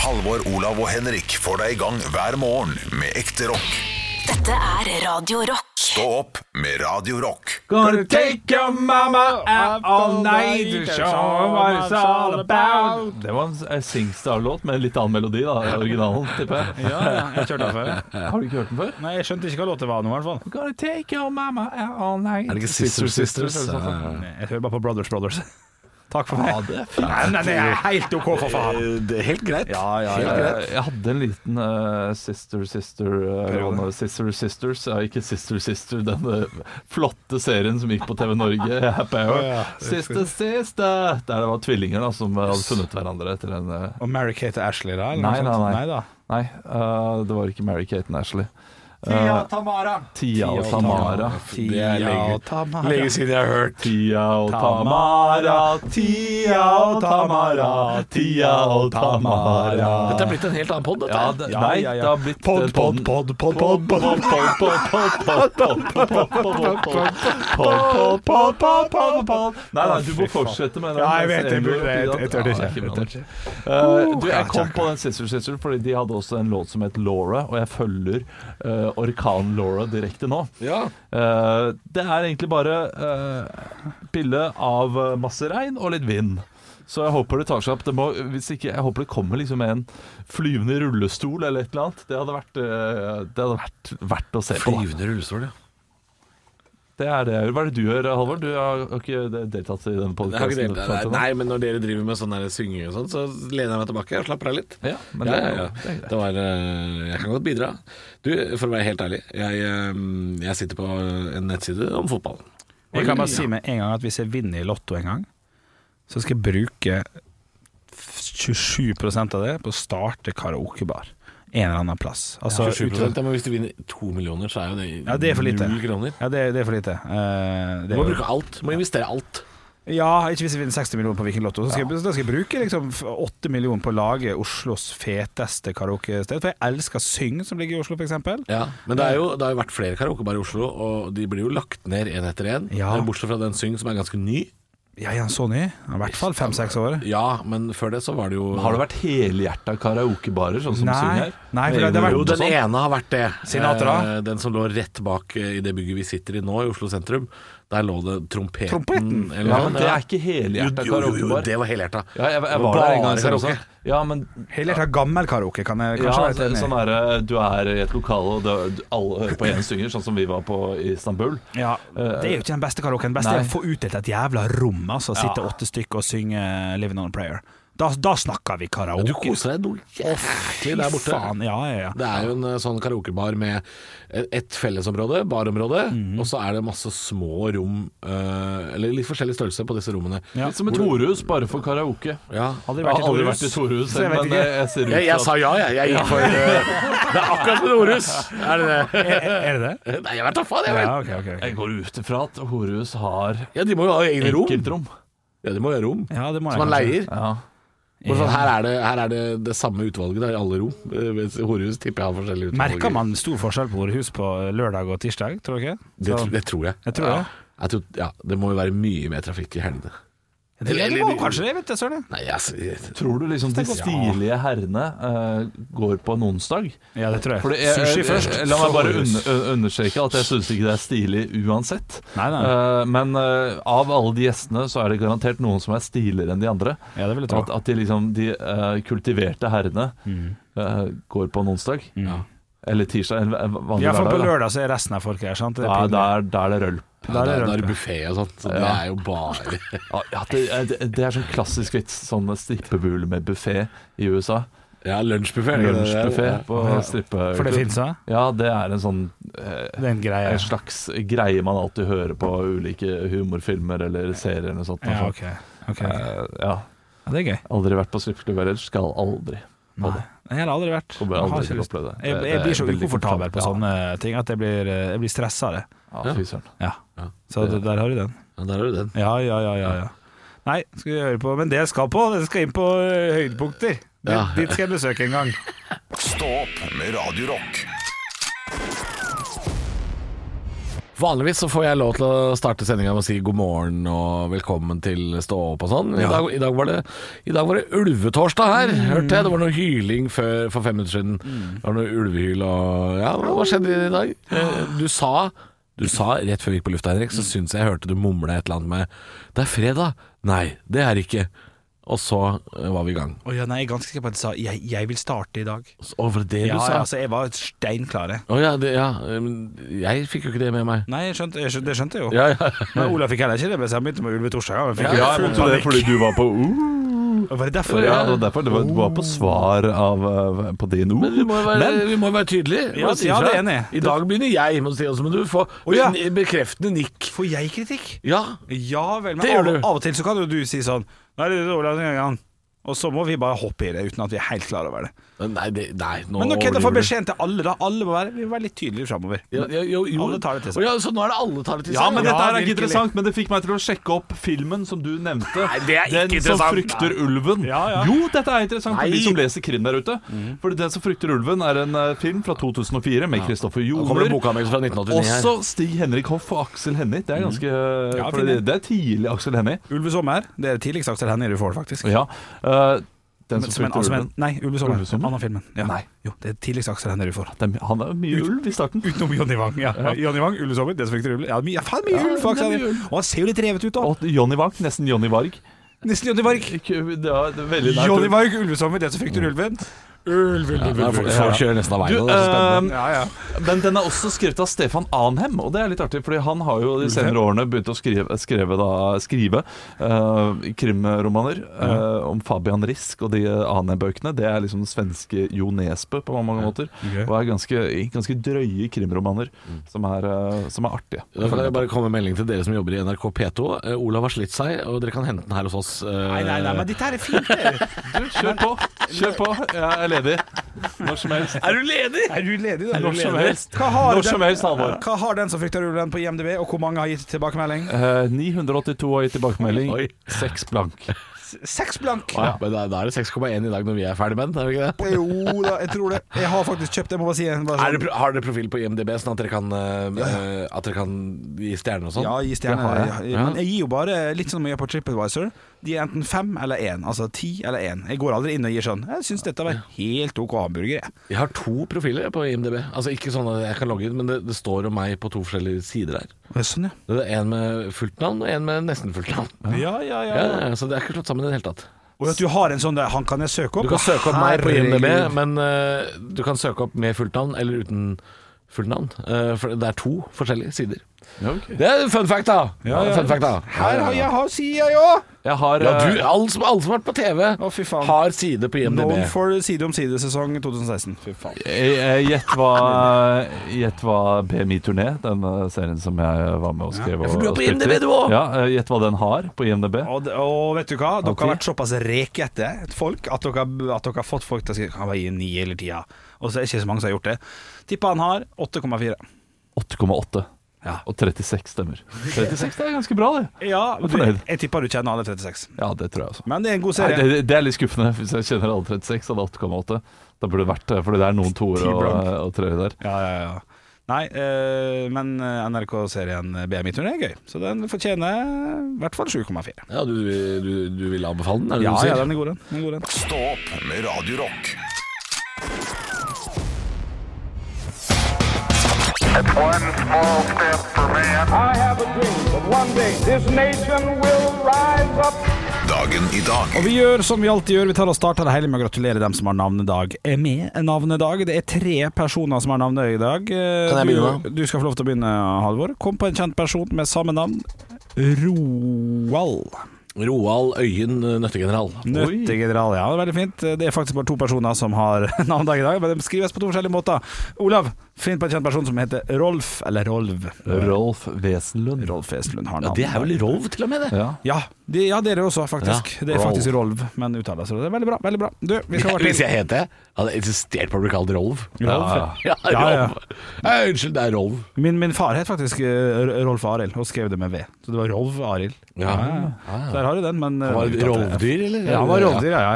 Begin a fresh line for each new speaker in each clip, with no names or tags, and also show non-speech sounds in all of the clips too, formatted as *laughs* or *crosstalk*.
Halvor, Olav og Henrik får deg i gang hver morgen med ekte rock.
Dette er Radio Rock.
Stå opp med Radio Rock.
Gonna take your mama out all night to show her what it's all about. Det var en s- en Singstar-låt med en litt annen melodi, da. i Originalen, tipper jeg.
*laughs* Ja, jeg har kjørt den før. jeg.
*laughs* Har du ikke hørt den før?
Nei, jeg skjønte ikke hva låta var nå, i hvert fall.
Gonna take your mama out all night.
Er det ikke Sister Sisters?
eller noe sånt?
Nei, Jeg hører bare på Brothers Brothers. *laughs* Takk for meg.
Ja, Ah, det er fint.
Nei, nei, det er helt OK, for faen.
Eh, det er helt greit. Helt greit.
Jeg, jeg hadde en liten eh, Sister Sister eh,
Periode.
Rana- Sister Sisters. Ja, ikke Sister Sister, den eh, flotte serien som gikk på TV Norge. *laughs* Happy Hour. Sister Sister! Der det var tvillinger da, som eh, hadde funnet hverandre etter en eh,
Og Mary-Kate Ashley, da? Eller
Nei,
noe sånt?
nei, nei.
nei da.
Nei, eh, det var ikke Mary-Kate and Ashley. Eh,
Tia Tamara.
Tia og Tamara.
Det er
Tia
lenge-
og Tamara.
Lenge siden jeg har hørt.
Tia og Tamara, Tia og Tamara, Tia og Tamara.
Dette er blitt en helt annen pod, dette.
Ja,
her.
det,
Ja,
nei,
ja, ja.
det har blitt
Pod,
eh,
pod,
podden.
pod, pod, pod, pod.
Nei, nei, du må fortsette med den.
Ja, jeg vet, jeg burde- jeg- jeg tør det ikke,
Ja, det er
jeg tør det
ikke. Eh, du, jeg kom på den Sister Sister fordi de hadde også en låt som het Laura, og jeg følger eh, orkanen Laura direkte nå.
Ja.
Eh, det er egentlig bare eh, pille av eh, masse regn og litt vind. Så jeg håper det tar seg opp. Det må, hvis ikke, jeg håper det kommer liksom med en flyvende rullestol eller et eller annet. Det hadde vært, eh, det hadde vært verdt å se på. da.
Flyvende rullestol, ja.
Det er det jeg gjør. Hva er det du gjør, Halvor? Du har har ikke deltatt i denne
Jeg har ikke delt det.
podkasten?
Nei, men når dere driver med sånn der synging og sånn, så lener jeg meg tilbake og slapper av litt.
Ja, men
ja,
det er
ja,
jo-
ja.
det er greit.
Det var, eh, jeg kan godt bidra. Du, for å være helt ærlig, jeg, eh, jeg sitter på en nettside om fotball.
Jeg kan bare si med en gang at hvis jeg vinner i Lotto en gang, så skal jeg bruke 27 av det på å starte karaokebar. En eller annen plass. Altså,
27 ja, men hvis du vinner to millioner, så er jo det,
Ja, det er for lite.
null kroner.
Ja, det, det er for lite. Eh,
Du
det er
må
jo-
bruke alt. Du må investere alt.
Ja, ikke hvis jeg vinner 60 millioner på Vikinglotto. Så skal, jeg, da skal jeg bruke liksom 8 millioner på å lage Oslos feteste karaokested. For jeg elsker Syng, som ligger i Oslo, f.eks.
Ja, men det, er jo, det har jo vært flere karaokebar i Oslo, og de blir jo lagt ned én etter én.
Ja.
Bortsett fra den Syng, som er ganske ny.
Ja, ja, så ny. I hvert fall fem-seks år.
Ja, men før det så var det jo
Har det vært helhjerta karaokebarer, sånn som
Nei.
synger?
Nei, for det- det har vært-
Jo, den
sånn.
ene har vært det.
Sinatra?
Eh, Den som lå rett bak eh, i det bygget vi sitter i nå, i Oslo sentrum. Der lå det trompeten.
Trompeten?
eller
Ja,
noe,
men det er ikke helhjerta
jo, jo, jo,
karaokebar.
det var helhjerta.
Ja, jeg, jeg
Det
var der en gang
bare
selv også.
karaoke.
Ja, men
Heller ta gammel karaoke, kan jeg
ja,
kanskje være
så-
litt
sånn
enig i.
er, det, du er i et lokale, og det, du- alle hører på én synger, sånn som vi var på i Istanbul.
Ja, det er jo ikke den beste karaoken. Den beste er
Nei.
å få utdelt et jævla rom, altså. Sitte
Ja.
åtte stykker og synge 'Living on a Prayer'. Da, da snakker vi karaoke.
Du koser deg noe jæklig der borte.
Faen, ja, ja, ja.
Det er jo en eh, sånn karaokebar med ett fellesområde, barområde,
Mhm.
og så er det masse små rom, eh, eller litt forskjellig størrelse på disse rommene.
Ja.
Litt som et horehus, bare for karaoke.
Ja.
Aldri
Jeg har
vært i
aldri
Torhus.
vært i Torhus
Så jeg
selv,
vet
men eh,
ikke.
jeg, jeg ser ut
Jeg, jeg sa ja, jeg. jeg gikk for, eh, *laughs* det er akkurat som Norus.
*laughs*
Er det det? *laughs*
Er, eh, er det det?
Nei, jeg vet da faen, jeg vet.
Ja, ok, ok, ok.
Jeg går ut ifra at horehus har
Ja, de må jo ha egne rom.
enkeltrom.
Ja, de må jo ha rom.
Ja, det må jeg
Som man
kanskje.
leier.
Ja.
Bare Sånn, her, er det, her er det det samme utvalget da, i alle rom. Eh, Mens i Horehus tipper jeg har forskjellige utvalg.
Merker man stor forskjell på horehus på lørdag og tirsdag, tror du ikke?
Det, tr- det tror jeg.
Jeg tror det.
Jeg tror, ja, det må jo være mye mer trafikk i helgene.
det, det, må kanskje det, vet du, søren.
Nei, altså, jeg,
Tror du liksom de stilige herrene eh, går på en onsdag?
Ja, det tror jeg.
Fordi jeg,
Sushi
jeg-
først.
jeg- La meg bare
Horehus.
un- un- understreke at jeg syns ikke det er stilig uansett.
Nei, nei.
Eh, men eh, av alle de gjestene så er det garantert noen som er stiligere enn de andre.
Ja, det vil jeg tro.
At, at de liksom de eh, kultiverte herrene
Mm.
eh, går på en onsdag. Eller tirsdag, eller en vanlig
Ja, for på
hverdag. da.
lørdag så er resten av folket her, sant? Det er
Ja,
pinlig.
da er, da er det rølp.
ja, det,
det
er- da er
rødt,
det buffé og sånt. Så det er jo bare
Ja, ja, det, er- det, det er sånn klassisk vits. Sånn strippebule med buffé i USA.
Ja, lunsjbuffé. er det det der?
Lunsjbuffé på
Ja.
strippeklubb.
For det finnes, ja?
Ja, det er en sånn eh,
Det er en greie.
en slags greie man alltid hører på ulike humorfilmer eller serier eller noe sånt. Altså.
Ja, ok. Ok, ok.
Eh, ja.
Ja, det er gøy.
Aldri vært på strippeklubb heller. Skal aldri.
Nei, jeg har aldri vært.
Kommer
Jeg har
aldri
ikke
til å
lyst.
oppleve det.
Jeg,
Det-
jeg
det
blir
er
så
veldig
ukomfortabel på
komfortabelt.
sånne ting at jeg blir, eh, jeg blir stressa av det.
Ja, fy søren.
Ja.
Ja.
Så det, der har du den.
Ja, der har du den.
Ja, ja, ja, ja, ja. Nei, skal vi høre på Men det jeg skal på, det skal inn på eh, høydepunkter. Dit,
Ja.
dit skal jeg besøke en gang.
Stå opp med Radio Rock.
Vanligvis så får jeg lov til å starte sendinga med å si god morgen og velkommen til stå opp og sånn. I, dag, i, dag var det, I dag var det ulvetorsdag her,
Mm.
hørte jeg. Det var noe hyling før, for fem minutter siden. Det var noe ulvehyl og Ja, hva hva skjedde i dag? Eh, Du sa du sa rett før vi gikk på lufta, Henrik, så
Mm.
syns jeg jeg hørte du mumle et eller annet med 'Det er fredag'. Nei, det er det ikke. Og så eh, var vi i gang.
Å ja, nei, jeg er ganske sikker på at jeg sa jeg, jeg vil starte i dag.
Å, var det det
Ja,
du sa?
altså, jeg var steinklar. jeg.
Å ja, det, ja. eh, men Jeg fikk jo ikke det med meg.
Nei, jeg skjønte, jeg skjønte, det skjønte jeg jo.
Ja, ja.
Men Olav fikk heller ikke det med seg. Han begynte med ulvetorsdag. han fikk
Ja,
jo
Ja, jeg
full
måtte det
panikk.
fordi du var på uh.
Var det derfor?
Ja, det var derfor. Det var, du var på svar av, eh, på din
Men vi
uh.
må jo være, vi må jo være tydelige. Vi
Ja,
må si
ja,
fra.
det er enig.
I dag begynner jeg med å si også, men du får
Å, ja.
en bekreftende nikk.
Får jeg kritikk?
Ja.
Ja vel, men
Det gjør
av,
du.
av og til så kan jo du si sånn Nei, det er Olav den gangen. Og så må vi bare hoppe i det uten at vi er helt klar over det.
Nei, det, nei nå
Men nå kan jeg få
overdriver du.
beskjeden til alle, da. Alle må være, vi må være litt tydeligere framover.
Ja, ja, jo, jo.
Alle tar det til seg.
Å, Ja, så nå er det alle tar det til seg?
Ja, men dette her er
virkelig.
ikke interessant, men det fikk meg til å sjekke opp filmen som du nevnte.
Nei, det er ikke
den
interessant.
som frykter ulven.
Ja, ja.
Jo, dette er interessant
Nei.
for de som leser krim der ute. Fordi Den som frykter ulven er en eh, film fra 2004 med Kristoffer
Nå
Joner.
kommer det bokanmeldelse fra 1989 her.
Også Stig-Henrik Hoff og Aksel Hennie. Det er ganske
Ja,
for
fin,
det, det er tidlig Aksel Hennie.
Ulvesommer. Det er det tidligste Aksel Hennie du får, faktisk.
Ja. eh, den
Men,
som
som en,
frykter
som
ulven.
en, nei, Ulvesommer.
Ulvesommer?
Anna filmen. Ja.
Nei.
Jo, det er det tidligste Aksel Hennie du får.
Det er my- Han er mye ulv i starten.
Utenom Jonny Wang. Ja. Jonny Wang, Ulvesommer, det som frykter ulv. Ja, my- ja, faen mye ulv for Aksel
det er mye
Hennie. Og han ser jo litt revet ut, da.
Og Johnny Varg, nesten Johnny Varg.
Nesten Jonny Varg.
Ikke- Det er veldig nært.
Jonny Varg, Ulvesommer, det som frykter ulven. Ulv, ulv, ulv.
Ja, folk- folk kjører nesten av veien.
Du,
og det er så
eh,
spennende.
Ja, ja.
men den er også skrevet av Stefan Anhem, og det er litt artig, fordi han har jo de senere årene begynt å skrive, skrive, da, skrive eh, krimromaner eh, om Fabian Risk og de Anhem-bøkene. Det er liksom den svenske Jo Nesbø på mange måter,
ok. Mm.
og er ganske, ganske drøye krimromaner som er, eh, som er artige.
Da kan jeg bare komme med melding til dere som jobber i NRK P2. Eh, Olav har slitt seg, og dere kan hente den her hos oss. eh,
Nei, nei, nei, men dette her er fint. det.
Du, kjør på! Kjør på! Jeg er ledig når som helst.
Er du ledig?
*laughs* Er du ledig, da? Er du
Når som
ledig?
helst.
Hva har,
Når som
den,
helst, Halvor.
hva har den som frykter ulven på IMDb, og hvor mange har gitt tilbakemelding?
Eh, 982 har gitt tilbakemelding.
Oi.
Seks blank.
Seks blank!
Ja, men da, da er det 6,1 i dag når vi er ferdig med den, er det ikke det?
Jo da, jeg tror det. Jeg har faktisk kjøpt det, må bare si. Bare
Er
sånn.
det, pro- har dere profil på IMDb, sånn at dere kan, eh, at dere kan gi stjerner og sånn?
Ja, gi stjerne.
Det har jeg.
Ja,
Ja.
Men jeg gir jo bare litt sånn som jeg gjør på TripAdvisor. De er enten fem eller én. Altså ti eller én. Jeg går aldri inn og gir sånn. Jeg syns dette var helt OK hamburger, jeg.
Jeg har to profiler på IMDb. Altså Ikke sånn at jeg kan logge inn, men det, det står om meg på to forskjellige sider her.
Og jeg, Sånn, ja.
Det er En med fullt navn og en med nesten fullt navn.
Ja, ja, ja.
Ja, ja, så det er ikke slått sammen i det hele tatt.
Og at du har en sånn der, han kan jeg søke opp.
Du kan søke opp meg på
Herregud.
IMDb, men eh, du kan søke opp med fullt navn eller uten fullt navn. Eh, for det er to forskjellige sider. Det er fun fact, da!
Ja, ja.
Fun fact, da.
Her har jeg, har, sier jeg òg!
Jeg har
Ja,
eh,
du, alle som, alle som har vært på TV,
Å, fy faen.
har side på IMDb.
Known for side om side-sesong 2016. Fy faen.
Jeg- jeg- Gjett hva, gjett hva BMI Turné, den eh, serien som jeg var med og skrev og,
for du er
og
på
spilte i.
IMDb du også.
Ja, eh, Gjett hva den har på IMDb.
Og, det- og vet du hva? Dere
ti?
har vært såpass rekete folk at dere, at dere har fått folk til å skrive Kan jeg bare gi en ni eller ti, ja. Og så er det ikke så mange som har gjort det. Tipper han har 8,4.
8,8.
Ja.
Og 36 stemmer. 36 det er ganske bra, det.
Ja,
Jeg er
du,
fornøyd.
jeg tipper du kjenner alle 36.
Ja, det tror jeg også.
Men det er en god
Nei,
serie.
det, det er litt skuffende hvis jeg kjenner alle 36 hadde 8,8. Da burde det vært det, fordi det er noen toer
Ti
og,
blank.
og treere der.
Ja, ja, ja. Nei, eh, men NRK-serien eh, BMI-turné er gøy, så den fortjener i hvert fall 7,4.
Ja, du, du, du vil anbefale den? Er det
Ja,
du sier?
ja, den er god, den. den, er god, den.
Stå opp med Radio Rock.
One small step for man. I have a dream that one day this nation will rise up.
Dagen i dag.
Og vi gjør som vi alltid gjør, vi tar og starter det hele med å gratulere dem som har navnedag Er med navnedag. Det er tre personer som har navnedag i dag. Eh,
Kan jeg begynne,
Du, du skal få lov til å begynne, Halvor. Kom på en kjent person med samme navn. Roald.
Roald Øyen eh, Nøttegeneral.
Nøttegeneral, ja. det er Veldig fint. Det er faktisk bare to personer som har *laughs* navnedag i dag, men de skrives på to forskjellige måter. Olav, finn på en kjent person som heter Rolf, eller Rolv.
Rolf Wesenlund.
Rolf Eslund har
Ja,
navn.
det er vel Rolv, til og med, det.
Ja.
Ja, De, ja, dere også, faktisk.
Ja,
det er
Rolf.
faktisk Rolv, men uttaler seg. Det er veldig bra. veldig bra Du, vi skal over
*laughs* Hvis
til
jeg het det, hadde jeg insistert på å bli kalt Rolv.
Rolf.
*laughs* Ja, Rolv.
Ja, ja.
Nei, unnskyld, det er Rolv.
Min, min far het faktisk eh, R- Rolf Arild, og skrev det med V. Så det var Rolv Arild.
Ja.
Der har du den, men eh,
Var det
uttalte-
rovdyr, eller?
Ja, han var rovdyr, ja, ja,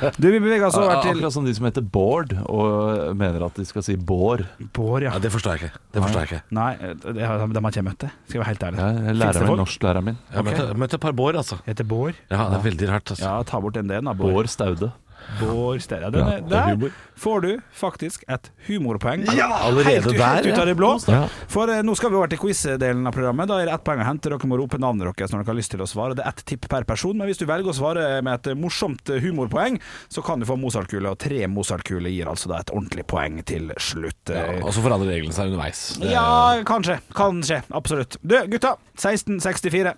ja. Du, vi beveger oss over til
Akkurat som de som heter Bård, og mener at de skal si Bård.
Bård, ja.
Ja, det forstår jeg ikke. Det forstår jeg ikke.
Nei, eh, det, det har dem har ikke jeg møtt, det. Skal jeg være helt ærlig.
Jeg,
Finnes det
læreren min,
folk?
norsklæreren min.
Jeg møtte, jeg møtte et par bår, altså.
Heter Bård?
Ja, det er veldig rart, altså.
Ja, ta bort den D-en, da. Bård.
Bård Staude.
Bård Stere. Den er-
det
der
er humor.
får du faktisk et humorpoeng.
allerede
helt,
der,
Helt ut
ja.
av det blå.
Ja.
For eh, nå skal vi over til quiz-delen av programmet. Da er det ett poeng å hente. Dere må rope navnet deres når dere har lyst til å svare. Det er ett tipp per person, men hvis du velger å svare med et eh, morsomt eh, humorpoeng, så kan du få Mozart-kule, og tre Mozart-kuler gir altså da et ordentlig poeng til slutt.
Ja,
Eh,
og så forandrer reglene seg underveis. Det-
Ja, kanskje. Kanskje. Absolutt. Du, gutta. 1664.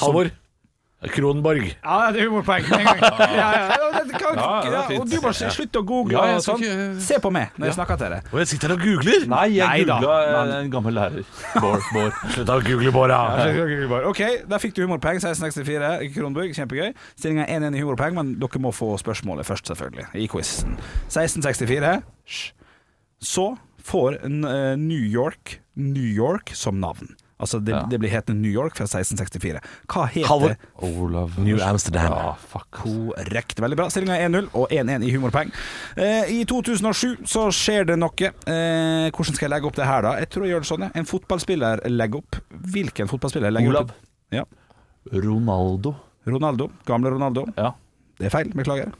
Halvor. Kronborg.
Ja, det er humorpoeng med en
*laughs*
gang. Ja, ja. Ja, det kan,
Ja, det er
ja,
fint.
og du må slutte å google.
Ja, jeg
og
skal
sånn.
ikke-
Se på meg når jeg snakker til deg.
Og jeg sitter her og googler!
Nei, jeg
Neida,
googla
men-
en gammel lærer. Bård, Bård.
Slutt å google, Båra.
Ok, Der fikk du humorpoeng. 1664 Kronborg, kjempegøy. Stillinga er 1-1 i humorpoeng, men dere må få spørsmålet først, selvfølgelig. I quizen. 1664. Hysj. Så får en, eh, New York New York som navn. Altså det,
Ja.
det blir hetende New York fra 1664. Hva heter
Halvor.
Olav
New Amsterdam.
Ja, fuck.
Korrekt. Veldig bra. Stillinga er 1-0 og 1-1 i humorpoeng. Eh, I 2007 så skjer det noe. Eh, hvordan skal jeg legge opp det her, da? Jeg tror jeg gjør det sånn. jeg. En fotballspiller legger opp. Hvilken fotballspiller legger
Olav.
opp? Ja.
Ronaldo.
Ronaldo. Gamle Ronaldo.
Ja.
Det er feil. Beklager.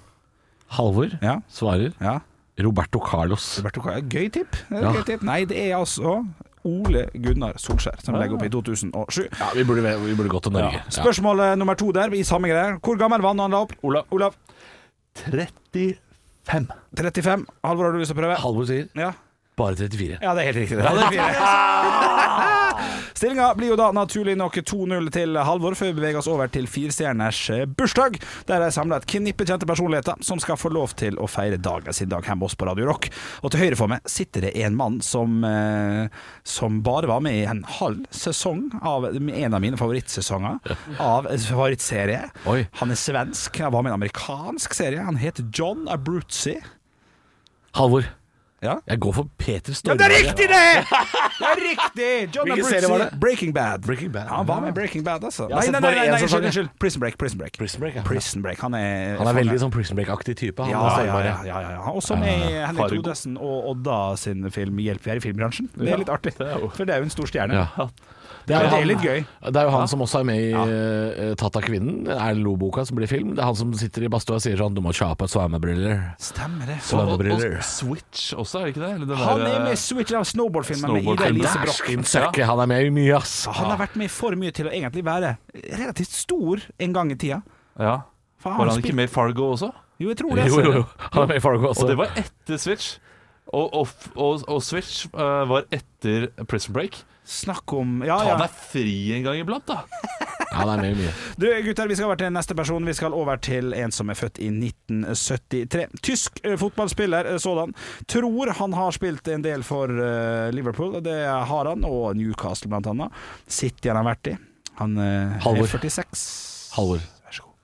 Halvor
Ja.
svarer
ja.
Roberto Carlos.
Roberto Carlos. Gøy tipp. Det er
Ja.
Gøy tipp. Nei, det er altså Ole Gunnar Solskjær som legger opp i 2007.
Ja, vi burde, vi burde gått til Norge. Ja.
Spørsmål eh, nummer to der, i samme greier. Hvor gammel var han da han la opp? Olav.
35.
35. Halvor, har du lyst til å prøve?
Halvor sier
Ja.
bare 34.
Ja, det er helt riktig. det. *laughs* Stillinga blir jo da naturlig nok 2-0 til Halvor, før vi beveger oss over til firestjerners eh, bursdag, der jeg samler et knippe kjente personligheter som skal få lov til å feire dagen sin dag hjemme hos oss på Radio Rock. Og til høyre for meg sitter det en mann som, eh, som bare var med i en halv sesong av en av mine favorittsesonger av en favorittserie.
Oi.
Han er svensk, han var med i en amerikansk serie. Han heter John Abruzzi.
Halvor,
Ja.
jeg går for Peter
Ja,
Stormare.
det er riktig, det! *laughs* Det er riktig! John
Hvilken
Abruzzi,
serie var det?
Breaking Bad.
Breaking Bad.
Ja, han var med i Breaking Bad, altså.
har
Nei,
sett
nei, nei,
bare
nei,
én
nei unnskyld,
sesong, jeg.
unnskyld. Prison Break. Prison Break.
Prison Break, ja.
Prison Break. Han er,
Han er veldig sånn Prison Break-aktig type. Han
ja, ja,
er
ja, ja,
Stormare.
ja, ja. Han er Også med i Henrik
Fargo.
Thodesen og Odda sin film 'Hjelp, vi er i filmbransjen'. Det
Ja,
er litt artig,
det er jo-
for det er jo en stor stjerne.
Ja. Det
Men det
jo han-
er litt gøy.
Det er jo han som også er med i eh, Tatt av kvinnen, Erlend Loe-boka som blir film. Det er han som sitter i badstua og sier sånn Du må kjøpe et svamebriller.
Stemmer det.
Og, og,
Svamebriller.
og Switch også, er det ikke det? Eller den
Han
der,
er med
eh,
i Switch av Snowboard-filmen med Ida
Snowboard-filmen.
Elise Broch.
Dæsken søkke, han er med i mye, ass.
Han har vært med for mye til å egentlig være relativt stor en gang i tida.
Ja.
For
Var han
spilte-
ikke med i Fargo også?
Jo, jeg tror det. altså.
Jo, jo, jo. Han er med i Fargo også.
Og det var etter Switch. Og, og, og, og Switch eh, var etter Prison Break.
Snakk om Ah, Ja,
Ta
ja.
deg fri en gang iblant, da!
Ja, han er med i mye.
Du gutter, vi skal over til neste person. Vi skal over til en som er født i 1973. Tysk eh, fotballspiller eh, sådan. Tror han har spilt en del for eh, Liverpool, og det har han, og Newcastle blant annet. City han har vært i. Han eh,
Halvor.
er 46.
Halvor.
Vær så god.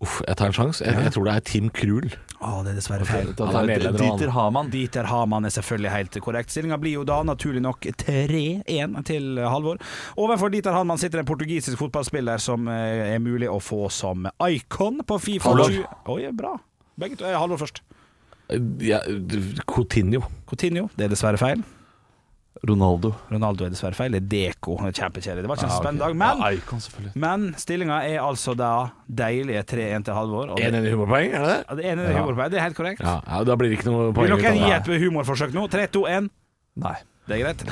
Uff, jeg tar en sjanse. Jeg, jeg tror det er Tim Krul.
Å, det er dessverre feil.
Da
Han
tar
er
jeg
nederlender, han.
Dieter Hamann.
Dieter Hamann er selvfølgelig helt korrekt. Stillinga blir jo da naturlig nok 3-1 til Halvor. Overfor Dieter Hamann sitter en portugisisk fotballspiller som eh, er mulig å få som icon på Fifa.
Halvor.
20 Oi, bra. Begge to. eh, Halvor først.
Ja, d- Coutinho.
Coutinho, det er dessverre feil.
Ronaldo.
Ronaldo er dessverre feil. Det er Deco. Kjempekjedelig. Det var ikke en
Ja,
så
ok.
spennende dag, men
ja, Icon, selvfølgelig.
men stillinga er altså da deilige 3-1 til Halvor. Og det,
1-1 i humorpoeng, er det det?
ja, det ene er humorpoeng, det er helt korrekt.
Ja, ja, da blir det ikke noe poeng.
Vil
ut av
dere
det.
gi et humorforsøk nå? 3, 2, 1.
Nei.
Det er greit.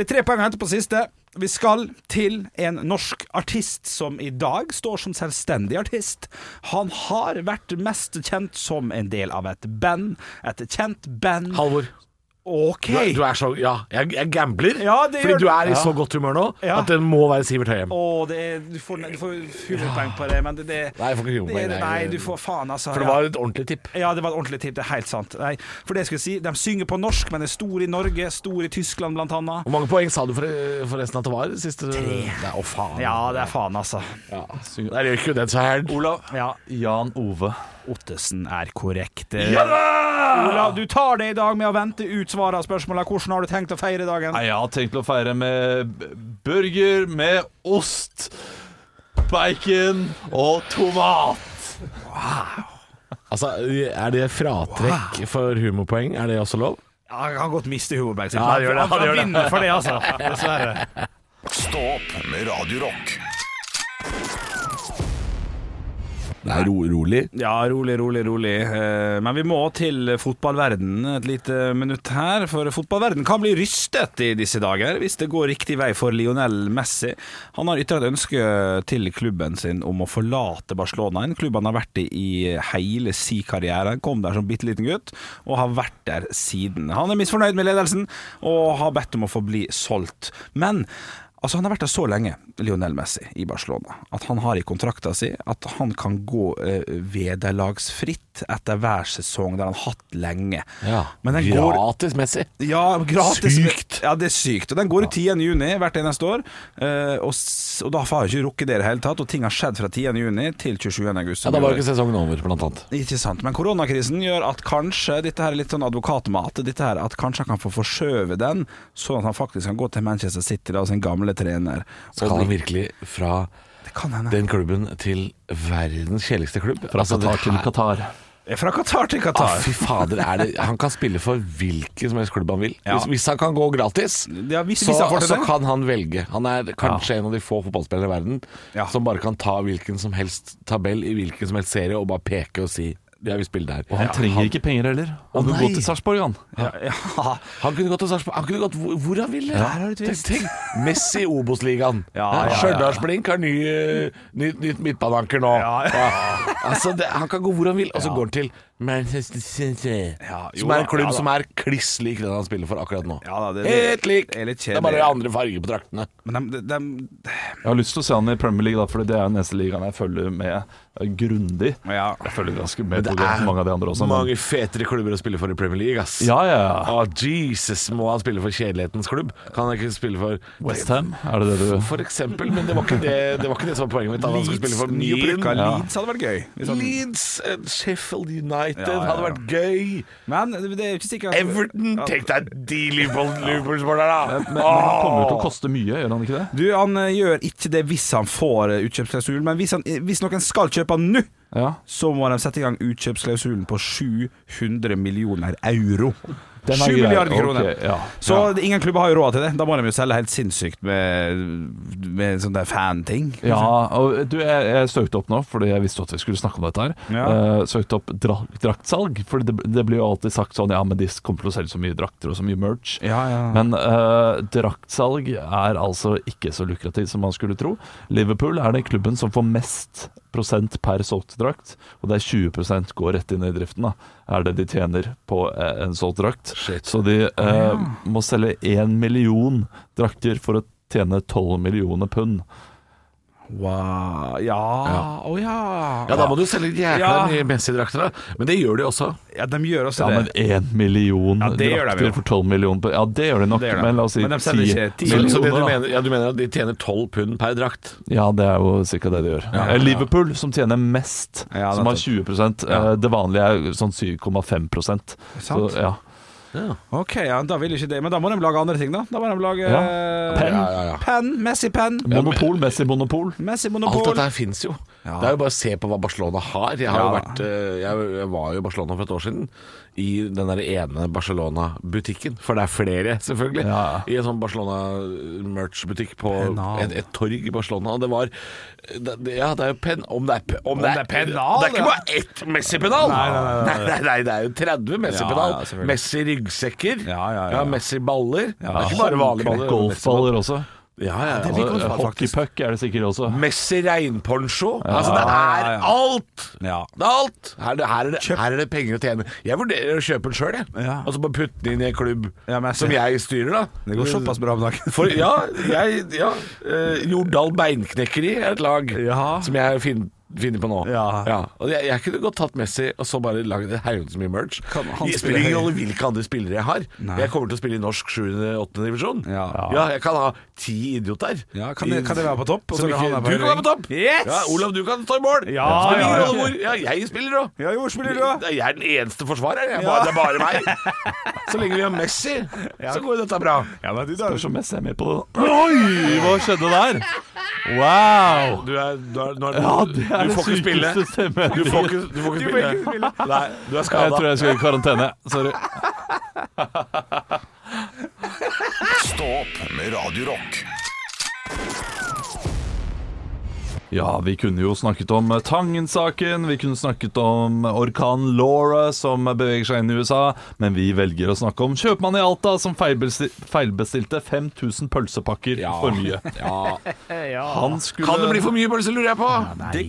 Det er tre poeng å hente på siste. Vi skal til en norsk artist som i dag står som selvstendig artist. Han har vært mest kjent som en del av et band. Et kjent band.
Halvor.
OK!
Du er, du er så Ja, jeg, jeg gambler.
Ja, det gjør
fordi du
du.
er i
Ja.
så godt humør nå
Ja.
at det må være Sivert Høyem.
Å, det er, du får, du får humorpoeng på det, men det, det
Nei, jeg får ikke humorpoeng,
det-
nei.
Nei, du får faen, altså.
For det
ja.
var et ordentlig tipp.
Ja, det var et ordentlig tipp. Det er helt sant. Nei, for det jeg skulle si, De synger på norsk, men er store i Norge, store i Tyskland blant annet.
Hvor mange poeng sa du for- forresten at det var? Siste Tre. Nei, å faen.
Ja, det er faen, altså.
Synger-
Der røyk jo den seg her.
Olav.
Ja,
Jan Ove.
Ottesen er korrekt. Olav, du tar det i dag med å vente ut svaret av spørsmålet. Hvordan har du tenkt å feire dagen?
Nei, jeg har tenkt å feire med b- burger med ost, bacon og tomat.
Altså, er det fratrekk for humorpoeng? Er det også lov?
Ja, Han kan godt miste humorpoeng.
Ja, han gjør det, han gjør det.
vinner for det, altså. Dessverre.
Stå opp med Radio Rock.
Det er rolig.
Ja, rolig, rolig, rolig. Eh, Men vi må til fotballverden et lite minutt her. For fotballverden kan bli rystet i disse dager hvis det går riktig vei for Lionel Messi. Han har ytret ønske til klubben sin om å forlate Barcelona. En klubb han har vært i i hele sin karriere. Han kom der som bitte liten gutt og har vært der siden. Han er misfornøyd med ledelsen og har bedt om å få bli solgt. Men Altså Han har vært der så lenge, Lionel Messi, i Barcelona, at han har i kontrakta si at han kan gå eh, vederlagsfritt etter hver sesong. Det har han hatt lenge.
Ja.
Men den går
Gratis Messi.
ja, gratis.
Sykt.
Ja, det er sykt. Og den går ut 10. juni hvert eneste år. eh, og, s- og da har jeg ikke rukket det i det hele tatt. Og ting har skjedd fra 10. juni til 27. august.
Ja, Da var jo ikke sesongen over, blant annet.
Ikke sant, men koronakrisen gjør at kanskje Dette her er litt sånn advokatmat Dette her at kanskje han kan få forskjøve den Sånn at han faktisk kan gå til Manchester City da, Og sin gamle trener
Skal han virkelig fra
Det kan hende
den klubben til verdens kjedeligste klubb?
Fra
Altså, det
Qatar til
her-
Qatar.
Fra Qatar til
Ah,
Qatar.
fy fader, er det, han kan spille for hvilken som helst klubb han vil.
Ja.
Hvis, hvis han kan gå gratis,
Ja, hvis-
så,
hvis han får til
så
det.
kan han velge. Han er kanskje en av de få fotballspillere i verden
Ja.
som bare kan ta hvilken som helst tabell i hvilken som helst serie og bare peke og si jeg vil spille der.
Og han trenger ikke penger heller. Han
Å,
vil
nei.
gå til Sarpsborg, han.
Ja, ja.
*laughs* Han kunne gått til Sarpsborg. Han kunne gått hvor, hvor han ville.
Der har du et twist.
Tenk- tenk, Messi i Obos-ligaen.
*laughs* Ja, ja, ja.
Stjørdals-Blink har ny, eh, nytt, nytt midtbaneanker nå. *laughs*
Ja, ja.
Altså, det, han kan gå hvor han vil, og så går han til Manchester City.
Ja, jo
som er
da,
en klubb
ja da.
som er kliss lik den han spiller for akkurat nå.
Ja da, det-
Helt lik!
det er litt
er bare
kjedelig.
andre farger på draktene.
Men de, de, de,
Jeg har lyst til å se han i Premier League, da, for det er den eneste ligaen jeg følger med eh, grundig.
ja.
Jeg følger ganske med på ganske mange av de andre også. men-
mange fetere klubber å spille for i Premier League, ass.
Ja, ja, ja.
Å, Jesus, må han spille for kjedelighetens klubb? Kan han ikke spille for
Westham, er det det du
For eksempel, men det var ikke det, det, var ikke det som var poenget mitt. at Han skulle spille for
Nye
Nyon.
bruker
Ja.
Leeds hadde vært gøy hvis han-
Leeds, eh, Sheffield United
Ja, ja, ja.
hadde vært gøy.
Men det det er jo ikke sikkert at-
Everton,
Ja.
tenk deg de Liverpool-sporterne,
Men, men
da!
han kommer jo til å
Åh!
koste mye, gjør han ikke det?
Du, han eh, gjør ikke det hvis han får eh, utkjøpsklausul Men hvis, han, hvis noen skal kjøpe han nå
Ja.
Så må de sette i gang utkjøpsklausulen på 700 millioner euro 7
er grei.
milliarder kroner
Ok, ja.
Så det- ingen klubber har jo råd til det. Da må de jo selge helt sinnssykt med, med sånne der fan-ting.
Ja, og du, jeg, jeg søkte opp nå, fordi jeg visste at vi skulle snakke om dette her.
Ja.
Eh, søkte opp dra draktsalg, for det, det blir jo alltid sagt sånn Ja, men de kommer til å selge så mye drakter og så mye merch.
Ja, ja.
Men eh, draktsalg er altså ikke så lukrativt som man skulle tro. Liverpool er den klubben som får mest prosent per solgt drakt, og det er 20 går rett inn i driften, da, er det de tjener på eh, en solgt drakt. Så de eh, må selge én million drakter for å tjene tolv millioner pund.
Wow. Ja Å ja.
Ja, da må du selge jækla
Ja.
mye Messi-drakter, da. Men det gjør de også.
Ja, de gjør også
Ja, men
det.
én million
Ja, det gjør de
drakter
jo.
for tolv millioner pund. Ja, det gjør de nok,
Det gjør de.
men la oss si
Men de selger ikke ti
Så, så det du,
da.
mener, ja, du mener at de tjener tolv pund per drakt?
Ja, det er jo cirka det de gjør. Eh, Liverpool, som tjener mest,
Ja,
som har
nettopp.
20 eh, Det vanlige er sånn 7,5 Så
Sant.
ja.
Ok, ja, da vil ikke det. Men da må de lage andre ting, da. Da må de lage
Ja.
eh,
Pen.
Ja, ja, ja.
Pen. Messi-pen.
Monopol, Messi-monopol.
Alt
Messi-monopol.
dette her fins jo. Det er jo bare å se på hva Barcelona har. Jeg, har jo
Ja.
vært, eh, jeg jeg var jo i Barcelona for et år siden, i den der ene Barcelona-butikken. For det er flere, selvfølgelig.
Ja.
I en sånn Barcelona-merch-butikk på
Penal.
et, et torg i Barcelona. Og det var det, det- Ja, det er jo pen... Om det er, pe- om det er,
penal,
Det er ikke
ja.
bare ett Messi-penal! Nei nei nei, det er jo 30 Messi-penal.
Ja, ja, selvfølgelig.
Messi-ryggsekker.
Ja, ja, ja.
Messi-baller. Det er ikke bare vanlige baller. men Messi-baller.
Golfballer også.
Ja, ja,
det
altså,
liker man
hopp-
faktisk.
Hockeypuck er det sikkert også.
Messi regnponcho. altså, det er
ja, ja.
alt!
Ja.
Det er alt! Her er det, her er det, her er det penger å tjene. Jeg vurderer å kjøpe den sjøl, jeg.
Ja.
Og så bare putte den inn i en klubb
Ja, Messi.
som jeg styrer, da.
Det går såpass bra om dagen.
For ja, jeg ja, eh, Jordal Beinknekkeri er et lag
Ja.
som jeg fin, finner på nå.
Ja.
Og jeg, jeg kunne godt tatt Messi og så bare lagd en haug så mye merch.
Kan han spille
Det spiller ingen
høyre?
rolle hvilke andre spillere jeg har.
Nei.
Jeg kommer til å spille i norsk 7.-8. divisjon.
Ja.
jeg kan ha ti idioter.
Ja, kan det- kan det være på topp, og så
Som
kan han
ikke,
være på
du kan være
høyre?
på topp!
Yes!
Ja, Olav, du kan stå i mål!
Ja,
Det
ja,
spiller ingen
ja.
rolle hvor. ja, jeg spiller òg.
Ja, hvor spiller du, da?
Jeg er den eneste forsvareren. Jeg er
Ja.
bare, Det er bare *laughs* meg. Så lenge vi har Messi, så går dette bra.
Ja, men du da.
Spørs om Messi er med på det. Oi, hva skjedde der? Wow!
Du, er, du, er, nå er,
Ja, det er
du
det
får ikke spille.
sykeste stemmen.
Du får ikke, du får ikke spille. Nei, du er
Jeg tror
skada.
jeg skal i karantene. Sorry.
Stå opp med Radio Rock.
Ja, vi kunne jo snakket om eh, Tangen-saken, vi kunne snakket om orkanen Laura som beveger seg inn i USA, men vi velger å snakke om kjøpmannen i Alta som feilbesti- feilbestilte 5000 pølsepakker for mye. Han skulle
Kan det bli for mye pølser, lurer jeg på?
Nei.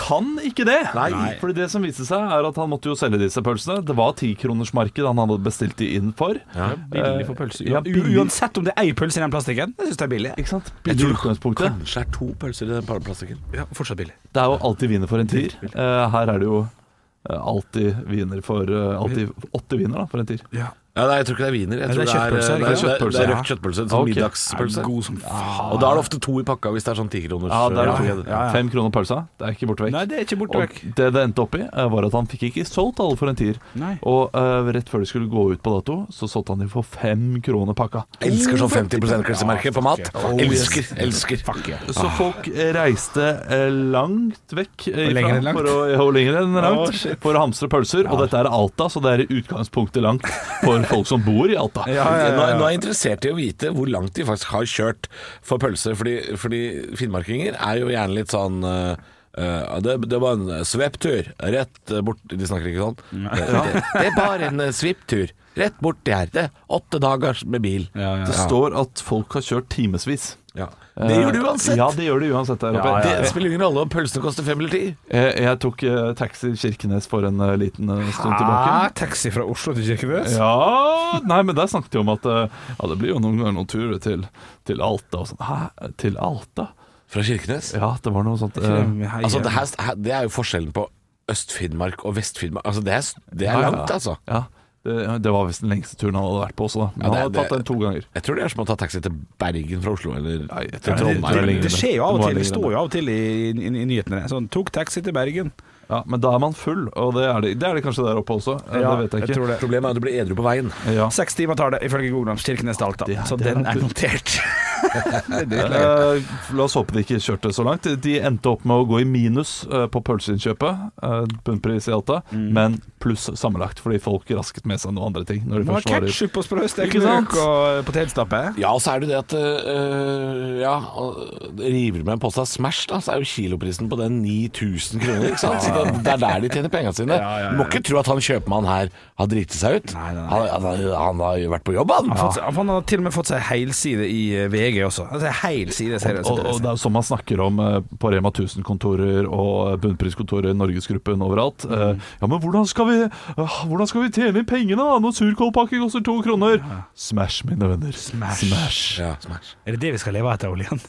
Kan ikke det! Nei. Fordi det som viste seg, er at han måtte jo selge disse pølsene. Det var tikronersmarked han hadde bestilt de inn for. Eh,
Billig for pølse.
Ja, billig.
Uansett om det er ei pølse i den plastikken, jeg syns det er billig.
Ikke sant? Billig i utgangspunktet.
Kanskje er to pølser i den plastikken.
Ja, fortsatt billig.
Det er jo alltid viner for en tier. Eh, her er det jo eh, alltid viner for eh, alltid åtte viner da, for en tier.
Ja, nei, jeg tror ikke det er wiener. Jeg
Nei,
tror
det
det
er
er,
kjøttpølser,
det
ikke
er, det er,
sant?
det er rødt kjøttpølse. En sånn
Ok.
middagspølse.
God som faen.
Og da er det ofte to i pakka hvis det er sånn tikroners.
Ja, det er det.
marked.
ja, ja.
Fem kroner pølsa, det er ikke borte vekk.
Nei, det er ikke borte
Og
vekk.
det det endte opp i, eh, var at han fikk ikke solgt alle for en tier.
Nei.
Og eh, rett før det skulle gå ut på dato, så solgte han de for fem kroner pakka.
Elsker sånn 50 %-klassemerke på mat. Elsker, elsker.
Så folk reiste eh, langt vekk eh,
Ah. Og lenger enn
ifra
langt.
for å, ja, og lenger enn
Å,
langt
shit. Ah.
for å hamstre pølser. Og dette er Alta, så det er i utgangspunktet langt for folk som bor i Alta.
Nå, nå er jeg interessert i å vite hvor langt de faktisk har kjørt for pølse, fordi, fordi finnmarkinger er jo gjerne litt sånn eh, eh, det, det var en svepptur rett eh, bort De snakker ikke sånn. Det, det er bare en eh, svipptur rett borti her. Det er åtte dager med bil.
Ja, ja,
Det står at folk har kjørt timevis.
Ja. Det gjør du uansett.
Eh, Ja, det gjør det uansett der oppe.
Det spiller ingen rolle om pølsene koster fem eller ti.
Jeg, jeg tok eh, taxi Kirkenes for en eh, liten eh, stund tilbake.
Ah, taxi fra Oslo til Kirkenes?
Ja Nei, men der snakket vi om at eh, ja, det blir jo noen ganger noen turer til, til Alta og sånn. Hæ? Til Alta?
Fra Kirkenes?
Ja, det var noe sånt. eh,
Altså, det, her, her- det er jo forskjellen på Øst-Finnmark og Vest-Finnmark. Altså, det, er s- det er
Ja,
langt, altså.
Ja, det, det var visst den lengste turen han hadde vært på også, da. Men
Ja, det-
han hadde tatt den to ganger.
Jeg tror det er som å ta taxi til Bergen fra Oslo, eller
Nei, jeg
til
tror
Trondheim.
det er
eller-
lenger.
det, det skjer jo av
Det
og
må
til.
være
Det står jo av og til i, i, i nyhetene. Sånn, tok taxi til Bergen.
Ja, Men da er man full, og det er det, det, er det kanskje der oppe også. Eh, det vet jeg ikke.
tror det.
Problemet er at du blir edru på veien.
Ja.
Seks timer tar det, ifølge Google Maps, Kirkenes til Alta.
Det er-
Så
det er
den er
langt.
notert.
*laughs* Eh, la oss håpe de ikke kjørte så langt. De endte opp med å gå i minus eh, på pølseinnkjøpet, eh, bunnpris i Alta,
Mm.
men pluss sammenlagt, fordi folk rasket med seg noen andre ting. Når de
Må ha
først var i
ketsjup og sprøstekt
Ikke sant?
løk og eh, potetstappe.
Ja, og så er det det at øh, Ja, og river du med en pose av Smash, da, så er jo kiloprisen på den 9000 kroner. Ikke sant? Så det, det er der de tjener pengene *laughs* sine.
Ja, ja, ja.
Du må ikke tro at han kjøpmannen her har driti seg ut.
Nei, nei, nei.
Han, han, han har jo vært på jobb, han.
Han, har fått- han har til og med fått seg helside i eh, VG også. Altså, helside, ser jeg.
Og, og det er jo sånn man snakker om eh, på Rema 1000-kontorer og eh, bunnpriskontorer, Norgesgruppen overalt.
Mm.
Eh, Ja, men hvordan skal vi, ah, hvordan skal vi tjene inn pengene da når surkålpakke koster to kroner? Smash, mine venner. Smash.
Ja, Smash.
Er det det vi skal leve etter oljen?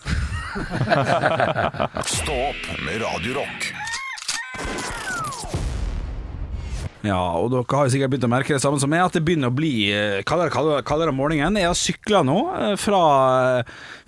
Stå opp med Radio Rock.
Ja, og dere har jo sikkert begynt å merke det samme som meg, at det begynner å bli eh, kaldere kaldere, kaldere om morgenen. Jeg har sykla nå eh, fra,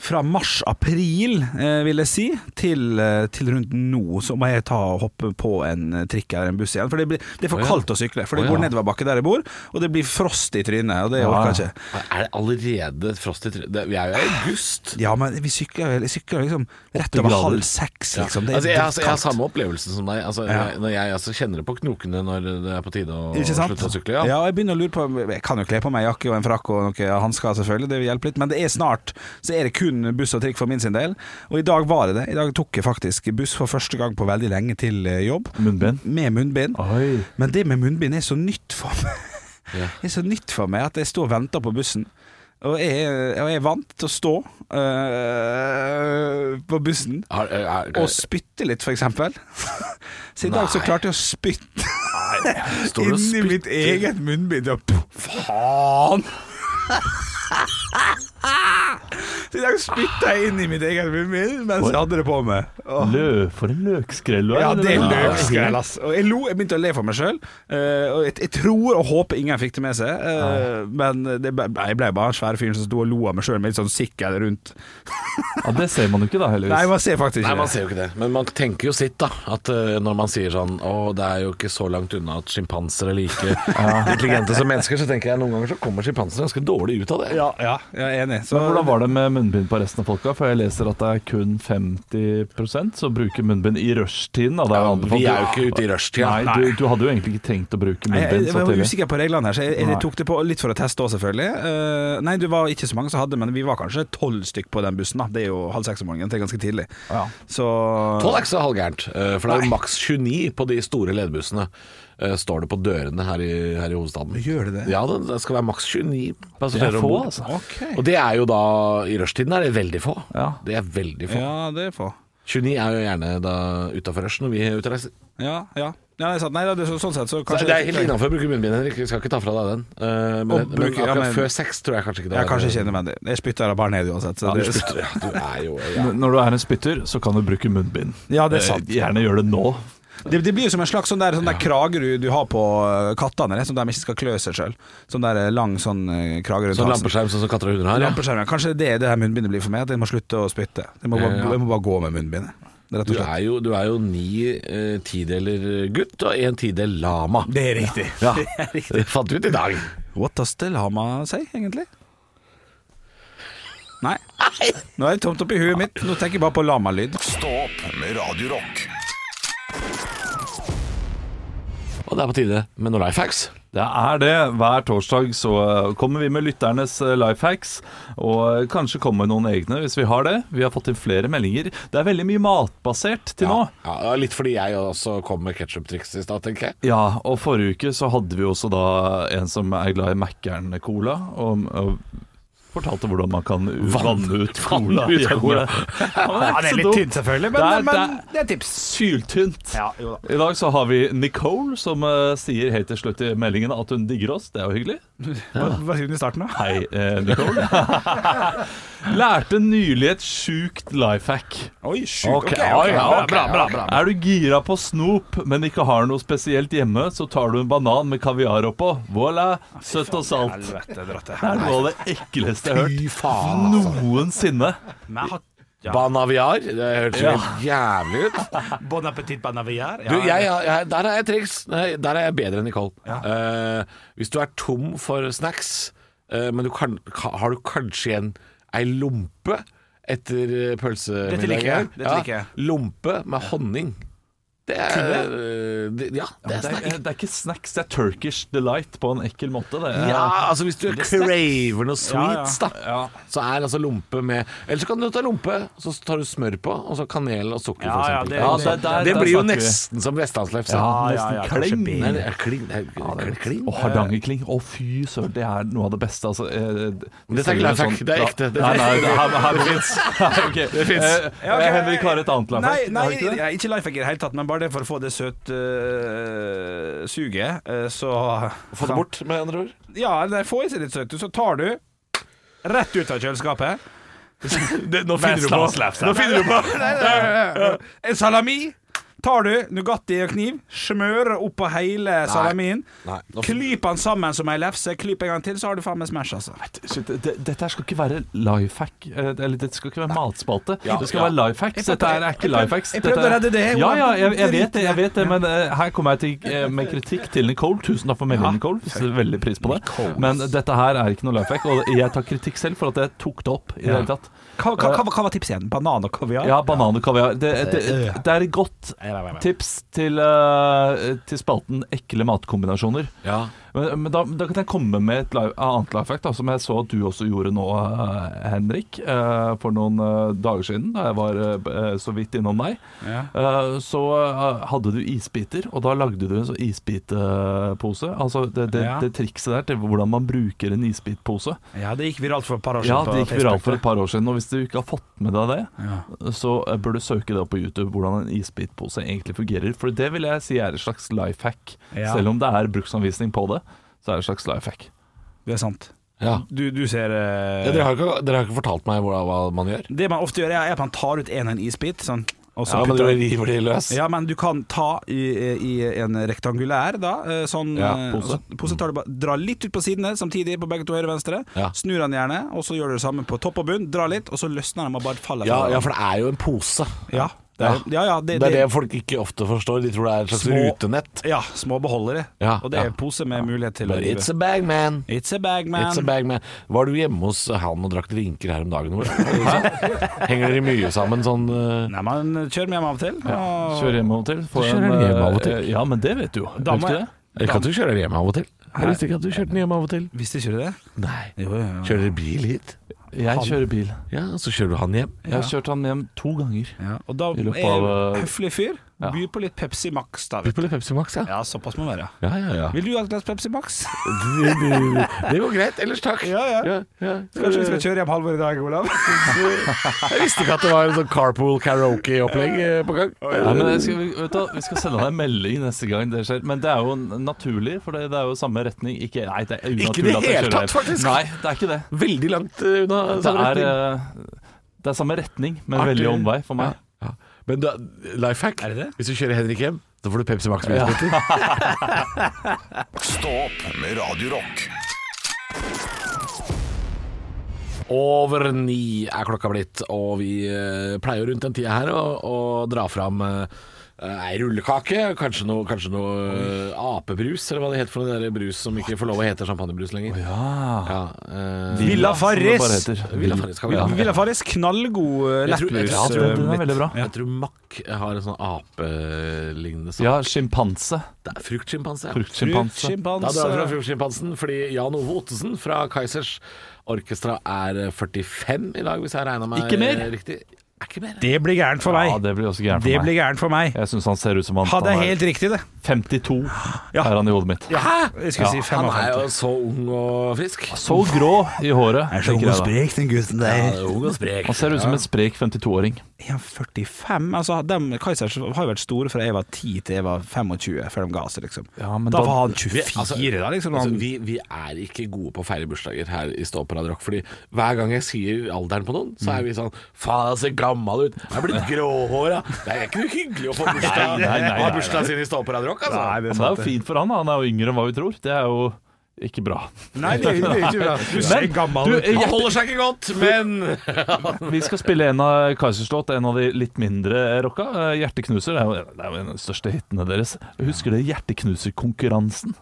fra mars-april, eh, vil jeg si, til, eh, til rundt nå. Så må jeg ta og hoppe på en eh, trikk eller en buss igjen. For det, blir, det er for kaldt å sykle. For det går nedoverbakke der jeg bor, og det blir frost i trynet. Og det orker jeg ikke.
Er det allerede frost i trynet? Vi er jo i august.
Ja, men vi sykler, jeg sykler liksom rett
Åtte
over
grader.
halv seks, liksom. Det er
altså, jeg, altså, jeg har
dritkaldt.
samme opplevelsen som deg. Altså,
Ja.
jeg, når jeg altså, kjenner det på knokene når det er på tide å
Ikke sant?
slutte å sykle. Ja.
Ja, jeg begynner å lure på Jeg kan jo kle på meg jakke og en frakk og noen hansker, selvfølgelig, det vil hjelpe litt, men det er snart så er det kun buss og trikk for min sin del. Og i dag var det det. I dag tok jeg faktisk buss for første gang på veldig lenge til eh, jobb.
Munnbind.
Med munnbind.
Oi.
Men
*laughs*
det med munnbind er så nytt for meg. Det er så nytt for meg at jeg står og venter på bussen. Og jeg, og jeg er vant til å stå øh, på bussen
Har-
eh,
er- er-
og spytte litt, f.eks. *laughs* Så i dag så
Nei.
klarte jeg å spytte
Står du og
*laughs* inni mitt
spytter?
eget munnbind. Og p- faen! *laughs* Så i dag spytta jeg inn i mitt eget munnbind mens jeg hadde det på meg. Åh.
Lø, for en løkskrell du er.
Ja, det er
Ja,
løkskrell, ass. Og jeg lo, jeg begynte å le for meg sjøl. og jeg, jeg tror og håper ingen fikk det med seg, eh, men det, ble- jeg ble bare en svær fyr som sto og lo av meg sjøl med litt sånn sikkel rundt.
Ja, det ser man jo ikke da, heldigvis.
Nei, man ser faktisk
Nei,
ikke
man ser jo ikke det. Men man tenker jo sitt, da. At eh, når man sier sånn Å, det er jo ikke så langt unna at sjimpanser er
*laughs*
like intelligente som mennesker, så tenker jeg noen ganger så kommer sjimpanser ganske dårlig ut av det.
Ja, ja, jeg er enig. Så,
Men hvordan var det med munnbind på resten av folka? For jeg leser at det er kun 50 som bruker munnbind i rushtiden. da. Det er jo
Ja,
anbefalt.
vi er jo ikke ute i rushtida.
Nei, du, du hadde jo egentlig ikke trengt å bruke
Nei, jeg,
munnbind
jeg
så
var
tidlig.
usikker på reglene her, så jeg, jeg
Nei.
tok det på litt for å teste òg, selvfølgelig. Eh, nei, det var ikke så mange som hadde, men vi var kanskje tolv stykk på den bussen. da Det er jo halv seks om morgenen, det er ganske tidlig.
Ja.
Så
Tolv er ikke så halvgærent, eh, for det er jo maks 29 på de store ledebussene. eh, Står det på dørene her i, her i hovedstaden.
Gjør det det?
Ja, det, det skal være maks 29
Det
passasjerer
er
om
få,
bord.
altså.
Ok.
Og det er jo da I rushtiden er det veldig få.
Ja.
Det er veldig få.
Ja, det er få.
29 er jo gjerne da utafor rush når vi er ute og reiser.
Ja, ja. ja det er sant. Nei, det er så, sånn sett så
Så
kanskje
det er helt innafor å bruke munnbind, Henrik. Vi skal ikke ta fra deg den. Eh, men,
Og bruke-
men akkurat
ja, men-
før sex tror jeg kanskje ikke det
Ja,
er-
kanskje ikke nødvendig. Jeg spytter det bare ned uansett. Så
Ja, du,
det,
slutter, ja, du er jo ja.
N- Når du er en spytter, så kan du bruke munnbind.
*laughs* Ja, det er sant.
Eh, Gjerne gjør det nå.
Eh,
det, det blir jo som en slags sånn der, sånn der krage du, du har på eh, kattene, det, som de ikke skal klø seg sjøl. Sånn der eh, lang sånn eh, krage rundt
Sånn
halsen.
lampeskjerm sånn som katter og hunder har. Ja.
Lampeskjerm, ja. Kanskje det er det her munnbindet blir for meg, at jeg må slutte å spytte. Jeg må bare,
Ja.
jeg må bare gå med munnbindet. Rett
Du
og slett.
er jo, du er jo ni eh, tideler gutt og en tidel lama.
Det er riktig.
Ja, det fant vi ut i dag.
What does the lama say, egentlig? Nei. Nå er det tomt oppi huet mitt. Nå tenker jeg bare på lamalyd.
Stå opp med Radio Rock.
Og det er på tide med noen life hacks.
Det er det. Hver torsdag så eh, kommer vi med lytternes life hacks. Og eh, kanskje kommer noen egne, hvis vi har det. Vi har fått inn flere meldinger. Det er veldig mye matbasert til nå.
Ja, ja, litt fordi jeg også kom med ketsjup-triks i stad, tenker jeg.
Ja, og forrige uke så hadde vi også da en som er glad i Mækkern-cola, og, og fortalte hvordan man kan vanne ut cola.
ut
*laughs*
cola.
Ja, det er litt tynt selvfølgelig, men det er, det er tips. Syltynt. I dag så har vi Nicole som eh, sier helt til slutt i meldingen at hun digger oss. Det er jo hyggelig.
Hva hva sier du i starten, da?
Hei, eh, *laughs* Nicole. Lærte nylig et sjukt life hack.
Oi, sjukt. Ok,
Ok, ja,
ok.
ja,
Bra, bra, bra.
Er du gira på snop, men ikke har noe spesielt hjemme, så tar du en banan med kaviar oppå. Voilà, søtt og salt.
Helvete, dratt det
Det
her.
er noe av det ekleste jeg har hørt
Fy faen.
noensinne.
Men jeg har
Banaviar. Det hørtes jo helt jævlig ut.
Bon appétit, banaviar.
Du, jeg, jeg, der er jeg triks. Nei, Der er jeg bedre enn Nicole. Eh, hvis du er tom for snacks, eh, men du kan, ka, har du kanskje igjen ei lompe etter eh, pølsemiddagen
Dette liker jeg, dette liker jeg.
Lompe med honning. Det er eh, det, Ja, det
Det
er
er,
snack.
det er ikke snacks, det er Turkish delight på en ekkel måte. Det er,
Ja, altså hvis du craver noe
Ja,
sweets, da,
Ja.
så er altså lompe med Eller så kan du ta lompe, så tar du smør på, og så kanel og sukker,
Ja,
for
ja,
eksempel.
det-
Ja,
det-
der-
det
der
blir jo
snakker vi.
nesten som vestlandslefse.
Ja,
ja, ja,
nesten
kanskje
kleng.
Nei, det er klin, det er klin.
Og Hardangerkling. Å, fy søren, det er noe av det beste. Altså, eh, det-
Dette er ikke life hack, det er ekte. Det-
sånn- Nei, nei, det, her, her fins. *laughs* Det
Ja, ok.
Eh, Henrik har et annet life
Nei,
hack.
nei
har du ikke det?
ikke, ikke life hack i det hele tatt, men bare det for å få det søt øh, suget, øh, så
Få det bort, med andre ord.
Ja, det får i seg litt søtt, så tar du rett ut av kjøleskapet.
nå finner du på. Nå finner du
*laughs*
på.
Eh, En salami tar du, Nugatti og kniv, smører opp på hele salamien.
Nei, nå-
Klyp den sammen som ei lefse, klyp en gang til, så har du faen meg Smash, altså.
Shit, det, dette her skal ikke være life hack. Eller det skal ikke være matspalte.
Ja,
det skal
ja.
være life hacks. Dette her er ikke
prøvde-
life hacks.
jeg prøvde
Dette er-
å redde det,
Ja,
Johan.
ja, jeg, jeg vet det,
Drit i
jeg vet det men eh, her kommer jeg til, eh, med kritikk til Nicole. Tusen takk for meldingen, Nicole. Vi Setter veldig pris på det. Men dette her er ikke noe life hack, og jeg tar kritikk selv for at jeg tok det opp i det hele tatt.
Hva, hva, hva, hva var tipset igjen? Banan og kaviar?
Ja, banan og kaviar. Det, det, det er et godt tips til, eh, til spalten ekle matkombinasjoner.
Ja.
Men, men da, da kan jeg komme med et live, annet life hack, da, som jeg så at du også gjorde nå, eh, Henrik. eh, for noen eh, dager siden, da jeg var eh, så vidt innom deg.
Ja.
Eh, så eh, hadde du isbiter, og da lagde du en sånn isbitpose. Altså det, det,
Ja.
det trikset der til hvordan man bruker en isbitpose.
Ja, det gikk viralt for et par år
Ja,
siden. på
det gikk viralt
Facebook,
for
det.
et par år siden, og hvis du ikke har fått med deg det, så eh, bør du søke det opp på YouTube, hvordan en isbitpose egentlig fungerer. For det vil jeg si er et slags life hack.
Ja.
Selv om det er bruksanvisning på det, så er det et slags life hack.
Det er sant.
Ja.
Du, du ser eh,
Ja, dere, har ikke, dere har ikke fortalt meg hva, hva man gjør?
Det man ofte gjør, er at man tar ut en og en isbit. Sånn, og så
Ja, men
putter-
dere river de løs.
Ja, men du kan ta i, i en rektangulær da, eh, sånn
Ja,
eh,
pose.
så- pose tar du bare, dra litt ut på sidene samtidig på begge to høyre og venstre.
Ja.
Snur den gjerne, og så gjør du det samme på topp og bunn. Dra litt, og så løsner den og bare faller.
Ja,
fra
ja,
hverandre.
for det er jo en pose.
ja, det er, ja, ja, det,
Det er det folk ikke ofte forstår. De tror det er et slags
Små-
rutenett.
Ja, små beholdere.
Ja,
og det er
ja.
en pose med mulighet til å
Bare,
rive.
it's a bag, man.
It's a bag, man.
It's a bag, man. Var du hjemme hos han og drakk drinker her om dagen? Hvor? Henger dere mye sammen sånn eh,
Nei, man kjører med hjem av og til. og-
Kjør hjem av og til. får
Du kjører
en,
hjem av og til.
eh, Ja, men det vet du jo. Vet
Da
du
må
ikke
jeg-
det?
Ikke at du kjører hjem av og til. Jeg visste ikke at du kjørte den hjem av og til.
Visste ikke du det?
Nei.
Jo, jo, jo.
Kjører dere bil hit?
Jeg kjører bil.
Ja, så kjører du han hjem.
Jeg har kjørt han hjem to ganger.
Ja, og da
I
er
løpet av,
jeg
eh,
høflig fyr.
ja.
Byr på litt Pepsi Max, da.
By
Vet.
på litt Pepsi Max,
du.
ja.
Ja, såpass må det være.
Ja, ja, ja.
Vil du ha et glass Pepsi *laughs* Max?
Det, det, det går greit. Ellers takk.
Ja, ja.
ja.
Kanskje vi skal kjøre hjem Halvor i dag, Olav?
Jeg visste ikke at det var en sånn carpool karaoke-opplegg eh, på gang.
Nei, men jeg skal, vet du, hva, vi skal sende deg en melding neste gang det skjer. Men det er jo n- naturlig, for det det er jo samme retning. Ikke, nei, det er
Ikke i
unaturlig
det
at jeg
hele
kjører
tatt,
hjem.
faktisk.
Nei, det er ikke det.
Veldig langt eh, unna.
Det
samme
er,
retning.
eh, det er samme retning, men
Artig.
veldig omvei for meg.
Ja. Men da, life hack,
det det?
hvis du kjører Henrik hjem, da får du Pepsi Max. med isbiter.
Stå opp med Radio Rock.
*laughs* Over ni er klokka blitt, og vi eh, pleier rundt den tida her å, å dra fram eh, ei rullekake, kanskje noe, kanskje noe eh, apebrus, eller hva det heter for noe der brus som ikke får lov å hete champagnebrus lenger.
Ja.
Ja, eh,
Villa
som det bare
Farris.
heter.
Villa Farris skal vi ha.
Villa Farris, knallgod eh,
Jeg tror- jeg
lettbrus.
tror- jeg tror
eh,
den er
mitt.
veldig bra.
Ja.
Jeg tror Mack har en sånn apelignende sak.
Ja, sjimpanse.
Det er fruktsjimpanse. ja.
Fruktsjimpanse.
Da drar vi fra
Sjimpans. eh,
fruktsjimpansen, fordi Jan Ove Ottesen fra Kaizers Orkestra er 45 i dag, hvis jeg regna meg
Ikke mer?
riktig. Er ikke mer.
Det blir gærent for
Ja,
meg.
det blir også gærent
Det
for
blir
meg.
gærent for meg.
Jeg syns han ser ut som han,
Hadde jeg
han er
helt riktig, det.
52,
Ja.
er han i hodet mitt.
Hæ?
Jeg skulle si
Han er
55.
jo så ung og frisk.
Så grå i håret. tenker jeg da.
sprek, den gutten
Ja, ung og sprek.
Han ser ut som en sprek 52-åring.
Er han 45? Altså, de Kaizers har jo vært store fra jeg var 10 til jeg var 25, før de ga seg, liksom.
Ja, men
da,
da-
var han
Vi-
24,
altså,
da, liksom.
altså,
Han,
vi, vi er ikke gode på å feire bursdager her i Stå på Radio Rock. Fordi hver gang jeg sier alderen på noen, så
Mm.
er vi sånn Faen, jeg ser gammel ut. Jeg
*laughs*
er blitt gråhåra. Det er ikke noe hyggelig å få bursdag
Nei, nei, nei,
ha
nei,
bursdagen sin i Stå på Radio Rock, altså.
Nei,
Men
det
det er
sant,
jo
det.
fint for han, da. han er jo yngre enn hva vi tror. Det er jo ikke bra.
Nei, det er jo det er ikke bra. Du ser gammel ut.
du,
Han holder seg ikke godt, men
Vi skal spille en av Kaizers låt, en av de litt mindre rocka. Eh, 'Hjerteknuser' er jo, det er jo en av de største hitene deres. Jeg husker dere Hjerteknuser-konkurransen?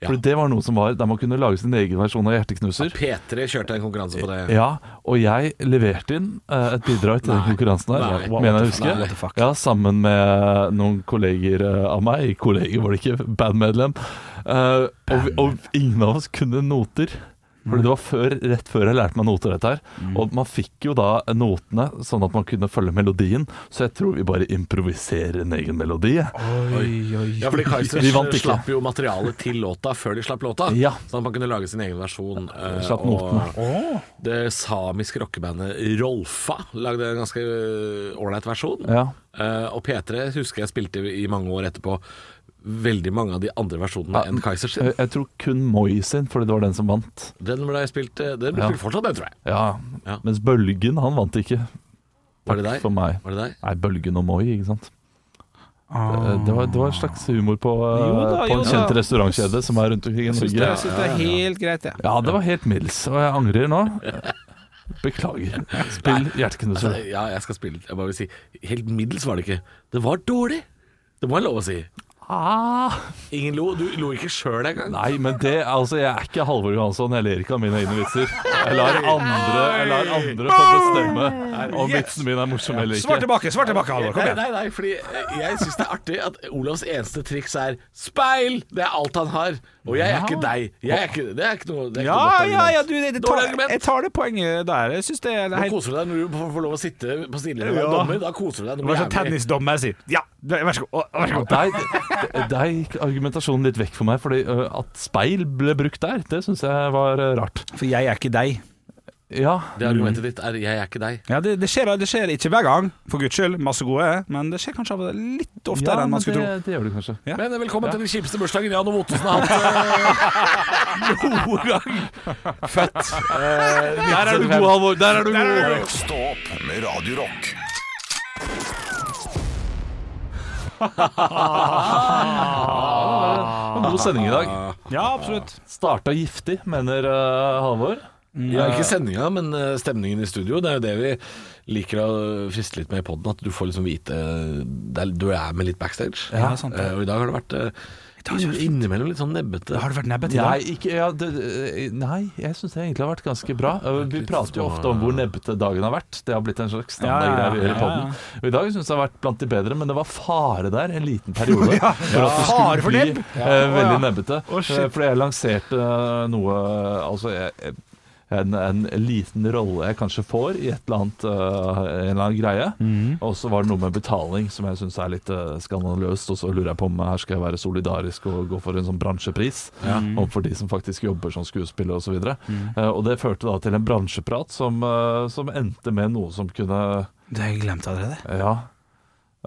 Ja.
For det var noe som var der man kunne lage sin egen versjon av Hjerteknuser.
P3 kjørte en konkurranse på det.
Ja, og jeg leverte inn eh, et bidrag til den
Nei.
konkurransen her,
Nei.
mener jeg å
Nei, what the
huske.
fuck.
Ja, sammen med noen kolleger eh, av meg. Kolleger var det ikke, bandmedlem. Eh, og, vi- og ingen av oss kunne noter. Fordi det var før, rett før jeg lærte meg noter dette her.
Mm.
Og man fikk jo da notene sånn at man kunne følge melodien. Så jeg tror vi bare improviserer en egen melodi. jeg.
Ja, fordi
Vi vant
Kaizers
ikke.
slapp jo materialet til låta før de slapp låta,
Ja.
sånn at man kunne lage sin egen versjon. eh,
Slapp
og
notene.
Det samiske rockebandet Rolfa lagde en ganske eh, ålreit versjon.
Ja.
Eh, og P3 husker jeg spilte i mange år etterpå veldig mange av de andre versjonene enn Kaizers sin.
Jeg, jeg tror kun Moi sin, fordi det var den som vant.
Den ble spilt, eh, den ble
Ja.
spilt fortsatt, den, tror jeg.
Ja,
Ja.
Mens Bølgen, han vant ikke.
Var det
Takk
deg?
For meg.
Var det deg?
Nei, Bølgen og Moi, ikke sant? Det, det, var, det var en slags humor på, eh,
Ah. Jo da,
på
jo
en
da.
kjent restaurantkjede som er rundt omkring i
Jeg syns
Norge.
det, jeg synes det er helt greit, jeg. Ja.
Ja, det var helt middels, og jeg angrer nå. Beklager. Spill Hjerteknuser.
Ja, jeg skal spille Jeg bare vil si Helt middels var det ikke. Det var dårlig! Det må jeg lov å si.
Ah.
Ingen lo. Du lo ikke sjøl engang.
Nei, men det Altså, jeg er ikke Halvor Johansson. Jeg ler ikke av mine egne vitser. Jeg lar andre, jeg lar andre få bestemme om vitsen min er morsom eller
Svar
ikke.
tilbake, svar tilbake, Halvor. Kom
Nei,
igjen.
nei, nei, fordi jeg syns det er artig at Olavs eneste triks er speil! Det er alt han har. Og jeg er ikke deg. Jeg er ikke, det er ikke noe det er ikke
Ja,
noe godt
ja, ja,
argument.
du, jeg, tar,
Dårlig argument.
jeg tar det poenget der. Jeg syns det er
Nå
helt
koser du deg når du får- får lov å sitte på stillingen og være
Ja.
dommer. Da koser du deg noe
Vær sånn
jævlig.
tennisdommer sier Ja, vær så god. Vær så god.
Nei, det- der gikk argumentasjonen litt vekk for meg, fordi ø, at speil ble brukt der, det syns jeg var ø, rart.
For jeg er ikke deg.
Ja,
Det argumentet ditt er 'jeg er ikke deg'.
Ja, det, det, skjer, det skjer ikke hver gang, for guds skyld. Masse gode. Men det skjer kanskje av og til litt oftere
ja
enn
men
man skulle tro.
det, det gjør du kanskje.
Ja.
Men velkommen til den kjipeste bursdagen Jan Ove
*laughs*
Ottosen har hatt eh, noen
*laughs*
gang. Født.
Der er du god, Halvor. Der er du god.
Stå opp med Radio Rock.
Det var en God sending i dag.
Ja, absolutt.
Starta giftig, mener ø, Halvor.
Ja, ikke sendinga, men eh, stemningen i studio. Det er jo det vi liker å friste litt med i poden. At du får liksom vite eh, det er, Du er med litt backstage.
Ja, sant det.
Eh, Og i dag har det vært eh, innimellom litt sånn nebbete.
Har det vært nebbete i
Nei,
dag?
ikke, ja, det, ø, nei, jeg syns det egentlig har vært ganske bra. Ø, Vi prater jo ofte om hvor nebbete dagen har vært. Det har blitt en slags standardgreie vi
Ja, ja,
gjør i
ja.
podden. Og I dag syns jeg det har vært blant de bedre, men det var fare der en liten *laughs* periode. For at det
Fare for
skulle bli
nebb?
eh, veldig
Å, ja.
nebbete.
Å, shit.
Eh, fordi jeg lanserte eh, noe Altså jeg, jeg- en, en liten rolle jeg kanskje får i et eller annet, eh, en eller annen greie.
Mhm.
Og så var det noe med betaling som jeg syns er litt eh, skandaløst. Og så lurer jeg på om her skal jeg være solidarisk og gå for en sånn bransjepris overfor de som faktisk jobber som skuespillere osv. videre
Mhm.
Eh, og det førte da til en bransjeprat som, eh, som endte med noe som kunne
Det har jeg glemt allerede.
ja.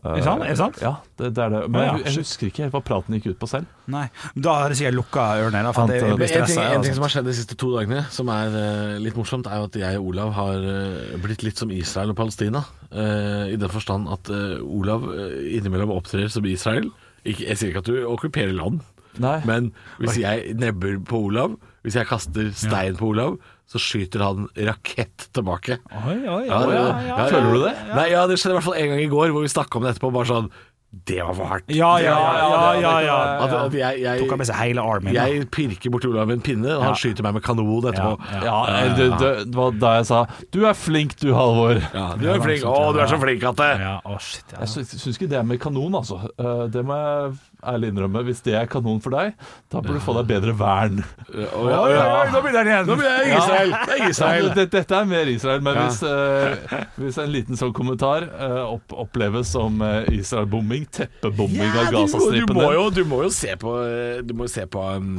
Er det sant? Er det sant?
Ja, det, det er det. Men
Å, ja.
jeg, jeg husker ikke helt hva praten gikk ut på selv.
Nei. Da har jeg sikkert lukka ørene. da, For at jeg, jeg blir
Men en ting,
stressa.
en ting som har skjedd de siste to dagene, som er eh, litt morsomt, er jo at jeg og Olav har eh, blitt litt som Israel og Palestina. eh, I den forstand at eh, Olav eh, innimellom opptrer som Israel. Ikke, jeg sier ikke at du okkuperer land,
Nei.
men hvis jeg nebber på Olav, hvis jeg kaster stein på Olav, så skyter han rakett tilbake.
Oi, oi,
Ja,
oi.
det-
ja, ja.
ja,
Føler du det?
Nei, ja, det skjedde i hvert fall en gang i går, hvor vi snakka om det etterpå, bare sånn Det var for hardt.
Ja, ja, ja. ja, ja,
At,
ja.
at jeg,
Tok
jeg,
av med seg hele armen. da.
jeg pirker borti Olav med en pinne, og han skyter meg med kanon etterpå.
Ja,
Ja, det, det, det var da jeg sa 'du er flink du, Halvor'.
Ja, du er flink. Å, du er så flink at det
Ja, å shit, ja.
Jeg syns, syns ikke det med kanon, altså. Eh, Det må jeg ærlig innrømme. Hvis det er kanon for deg, da bør du få deg bedre vern.
Å, ja, ja.
Nå begynner den igjen!
Nå blir jeg Israel. Det er Israel.
Ja, det- Dette er mer Israel, men hvis, eh, hvis en liten sånn kommentar eh, opp, oppleves som eh, Israel-bombing, teppebombing av
Ja, du, må, du,
Gazastripen
må jo, du må jo se på, eh, du må jo se på um,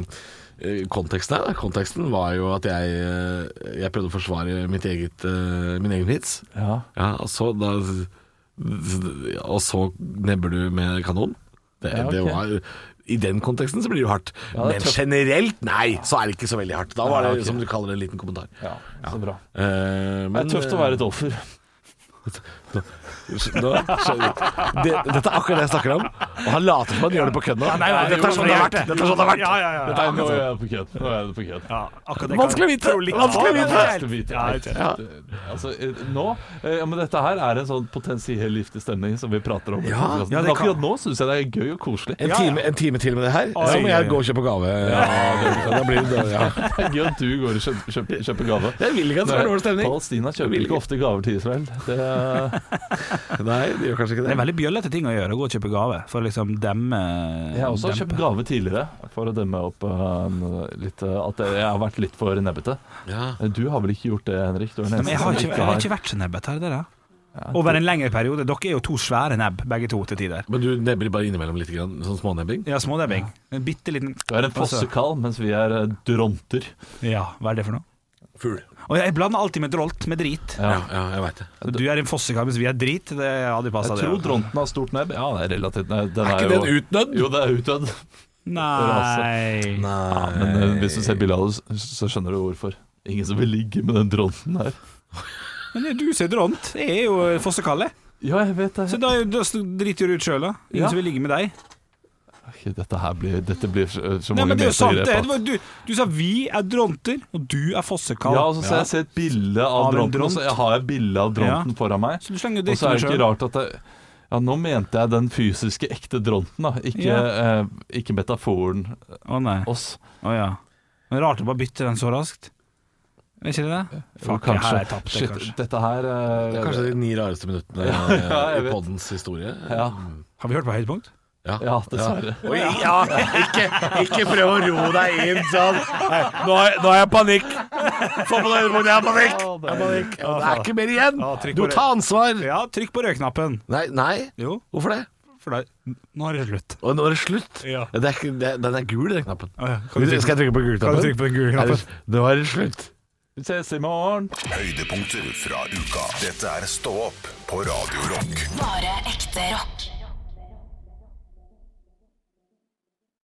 eh, konteksten her. da. Konteksten var jo at jeg, eh, jeg prøvde å forsvare mitt eget, eh, min egen vits.
Ja.
Ja, og så, da, og så nebber du med kanon. Det,
Ja, ok.
det var, I den konteksten så blir det jo hardt.
Ja, det er
Men
tøft.
generelt, nei, så er det ikke så veldig hardt. Da var det
Ja, ok.
som du kaller det, en liten kommentar.
Ja, så bra.
Eh,
Det
men-
er tøft å være et offer.
Nå, skjønner du. det, dette er akkurat det jeg snakker om. Og han later som han gjør det på kødd nå.
nei, nei,
dette er sånn det har vært.
jo,
Dette er sånn det har vært.
Ja, ja, ja.
Dette er
Nå er
akkurat sånn.
jeg på kødd. Nå er jeg på kødd.
Ja, akkurat det kan-
Vanskelig å vite!
Tror litt-
Vanskelig å
Ja,
vite!
Vanskelig å vite.
Ja, det er
Ja.
Altså, eh, nå, eh, ja, men Dette her er en sånn potensiell giftig stemning som vi prater om.
Ja,
ja,
men
det
akkurat nå syns jeg det er gøy og koselig.
En
Ja, ja.
time, en time til med det her,
Oi,
så må
oi,
jeg
oi.
gå og kjøpe gave. Ja, da blir det ja.
Det er gøy at du går og kjøper, kjøper, kjøper gave.
Jeg
altså.
vil ikke at det skal være dårlig stemning.
Palestina
Jeg
kjøper
vil
ikke ofte gaver til Israel. Det, eh,
Nei, det gjør kanskje ikke
Det
det.
er veldig bjøllete ting å gjøre, å gå og kjøpe gave. For å liksom demme
jeg har også
demme-
kjøpt gave tidligere for å demme opp eh, litt, eh, at jeg har vært litt for nebbete. Eh,
Ja.
Du har vel ikke gjort det, Henrik? Du er
Men
den
jeg
eneste
har
som
ikke, jeg har ikke vært så nebbete, er det det? Over en lengre periode. Dere er jo to svære nebb, begge to til tider.
Men du nebber bare innimellom litt, grann, sånn smånebbing?
Ja, smånebbing. En bitte liten
Du er en fossekall, mens vi er eh, dronter.
Ja, hva er det for noe?
Fugl.
Og jeg blander alltid med drolt med drit.
Ja. ja, jeg veit det.
Du er en fossekar, mens vi er drit. Det hadde passa,
Jeg
det.
tror dronten har stort nebb. Ja, det er relativt nei, den
Er
jo-
ikke den utdødd?
Jo, det er utdødd.
Nei
Nei.
Men eh, hvis du ser bildet av det, så skjønner du hvorfor. Ingen som vil ligge med den dronten her.
Men det er du som er dront. Jeg er jo fossekalle.
Ja, jeg vet
Så
det.
da, da driter du ut sjøl, da. Ingen
Ja.
som vil ligge med deg.
Ok, dette her blir, dette blir så, så
Nei,
mange
men det er jo sant, det.
metergrep.
Det var- Du, du sa vi er dronter, og du er fossekall.
Ja, og så ser jeg ser et bilde av
Av en
dronten, og
dront.
så har jeg bilde av dronten foran meg.
Så du slenger jo
Og
dritt
så er
om
det ikke
sjøl.
rart at jeg, Ja, nå mente jeg den fysiske ekte dronten, da. Ikke,
Ja.
eh, ikke metaforen
Å nei.
oss.
Å ja. Men rart å bare bytte den så raskt. Er ikke det det?
Jo,
Fuck, det her har jeg tapt, det,
Shit,
kanskje.
dette her eh,
Det er kanskje de ni rareste minuttene
ja, jeg
i
vet.
poddens historie.
ja,
Har vi hørt på høydepunkt?
ja, dessverre.
Oi, ja, ikke, ikke prøv å ro deg inn sånn. Nei, Nå har jeg- nå har jeg panikk. Få på deg øyemunn, jeg har panikk. Jeg har panikk. Ja, Det er ikke mer igjen. Du må ta ansvar.
Ja, trykk på rødknappen.
Nei, nei.
Jo,
Hvorfor det?
for da Nå er det slutt.
Og nå er det slutt.
Ja.
Det er ikke, det, den er gul, den knappen.
Å ja, kan du trykke-
Skal jeg trykke på gul-knappen?
Kan du trykke på den gule knappen?
Er det- Nå er det slutt.
Vi ses i morgen.
Høydepunkter fra uka. Dette er Stå opp på Radio Rock.
Bare ekte rock.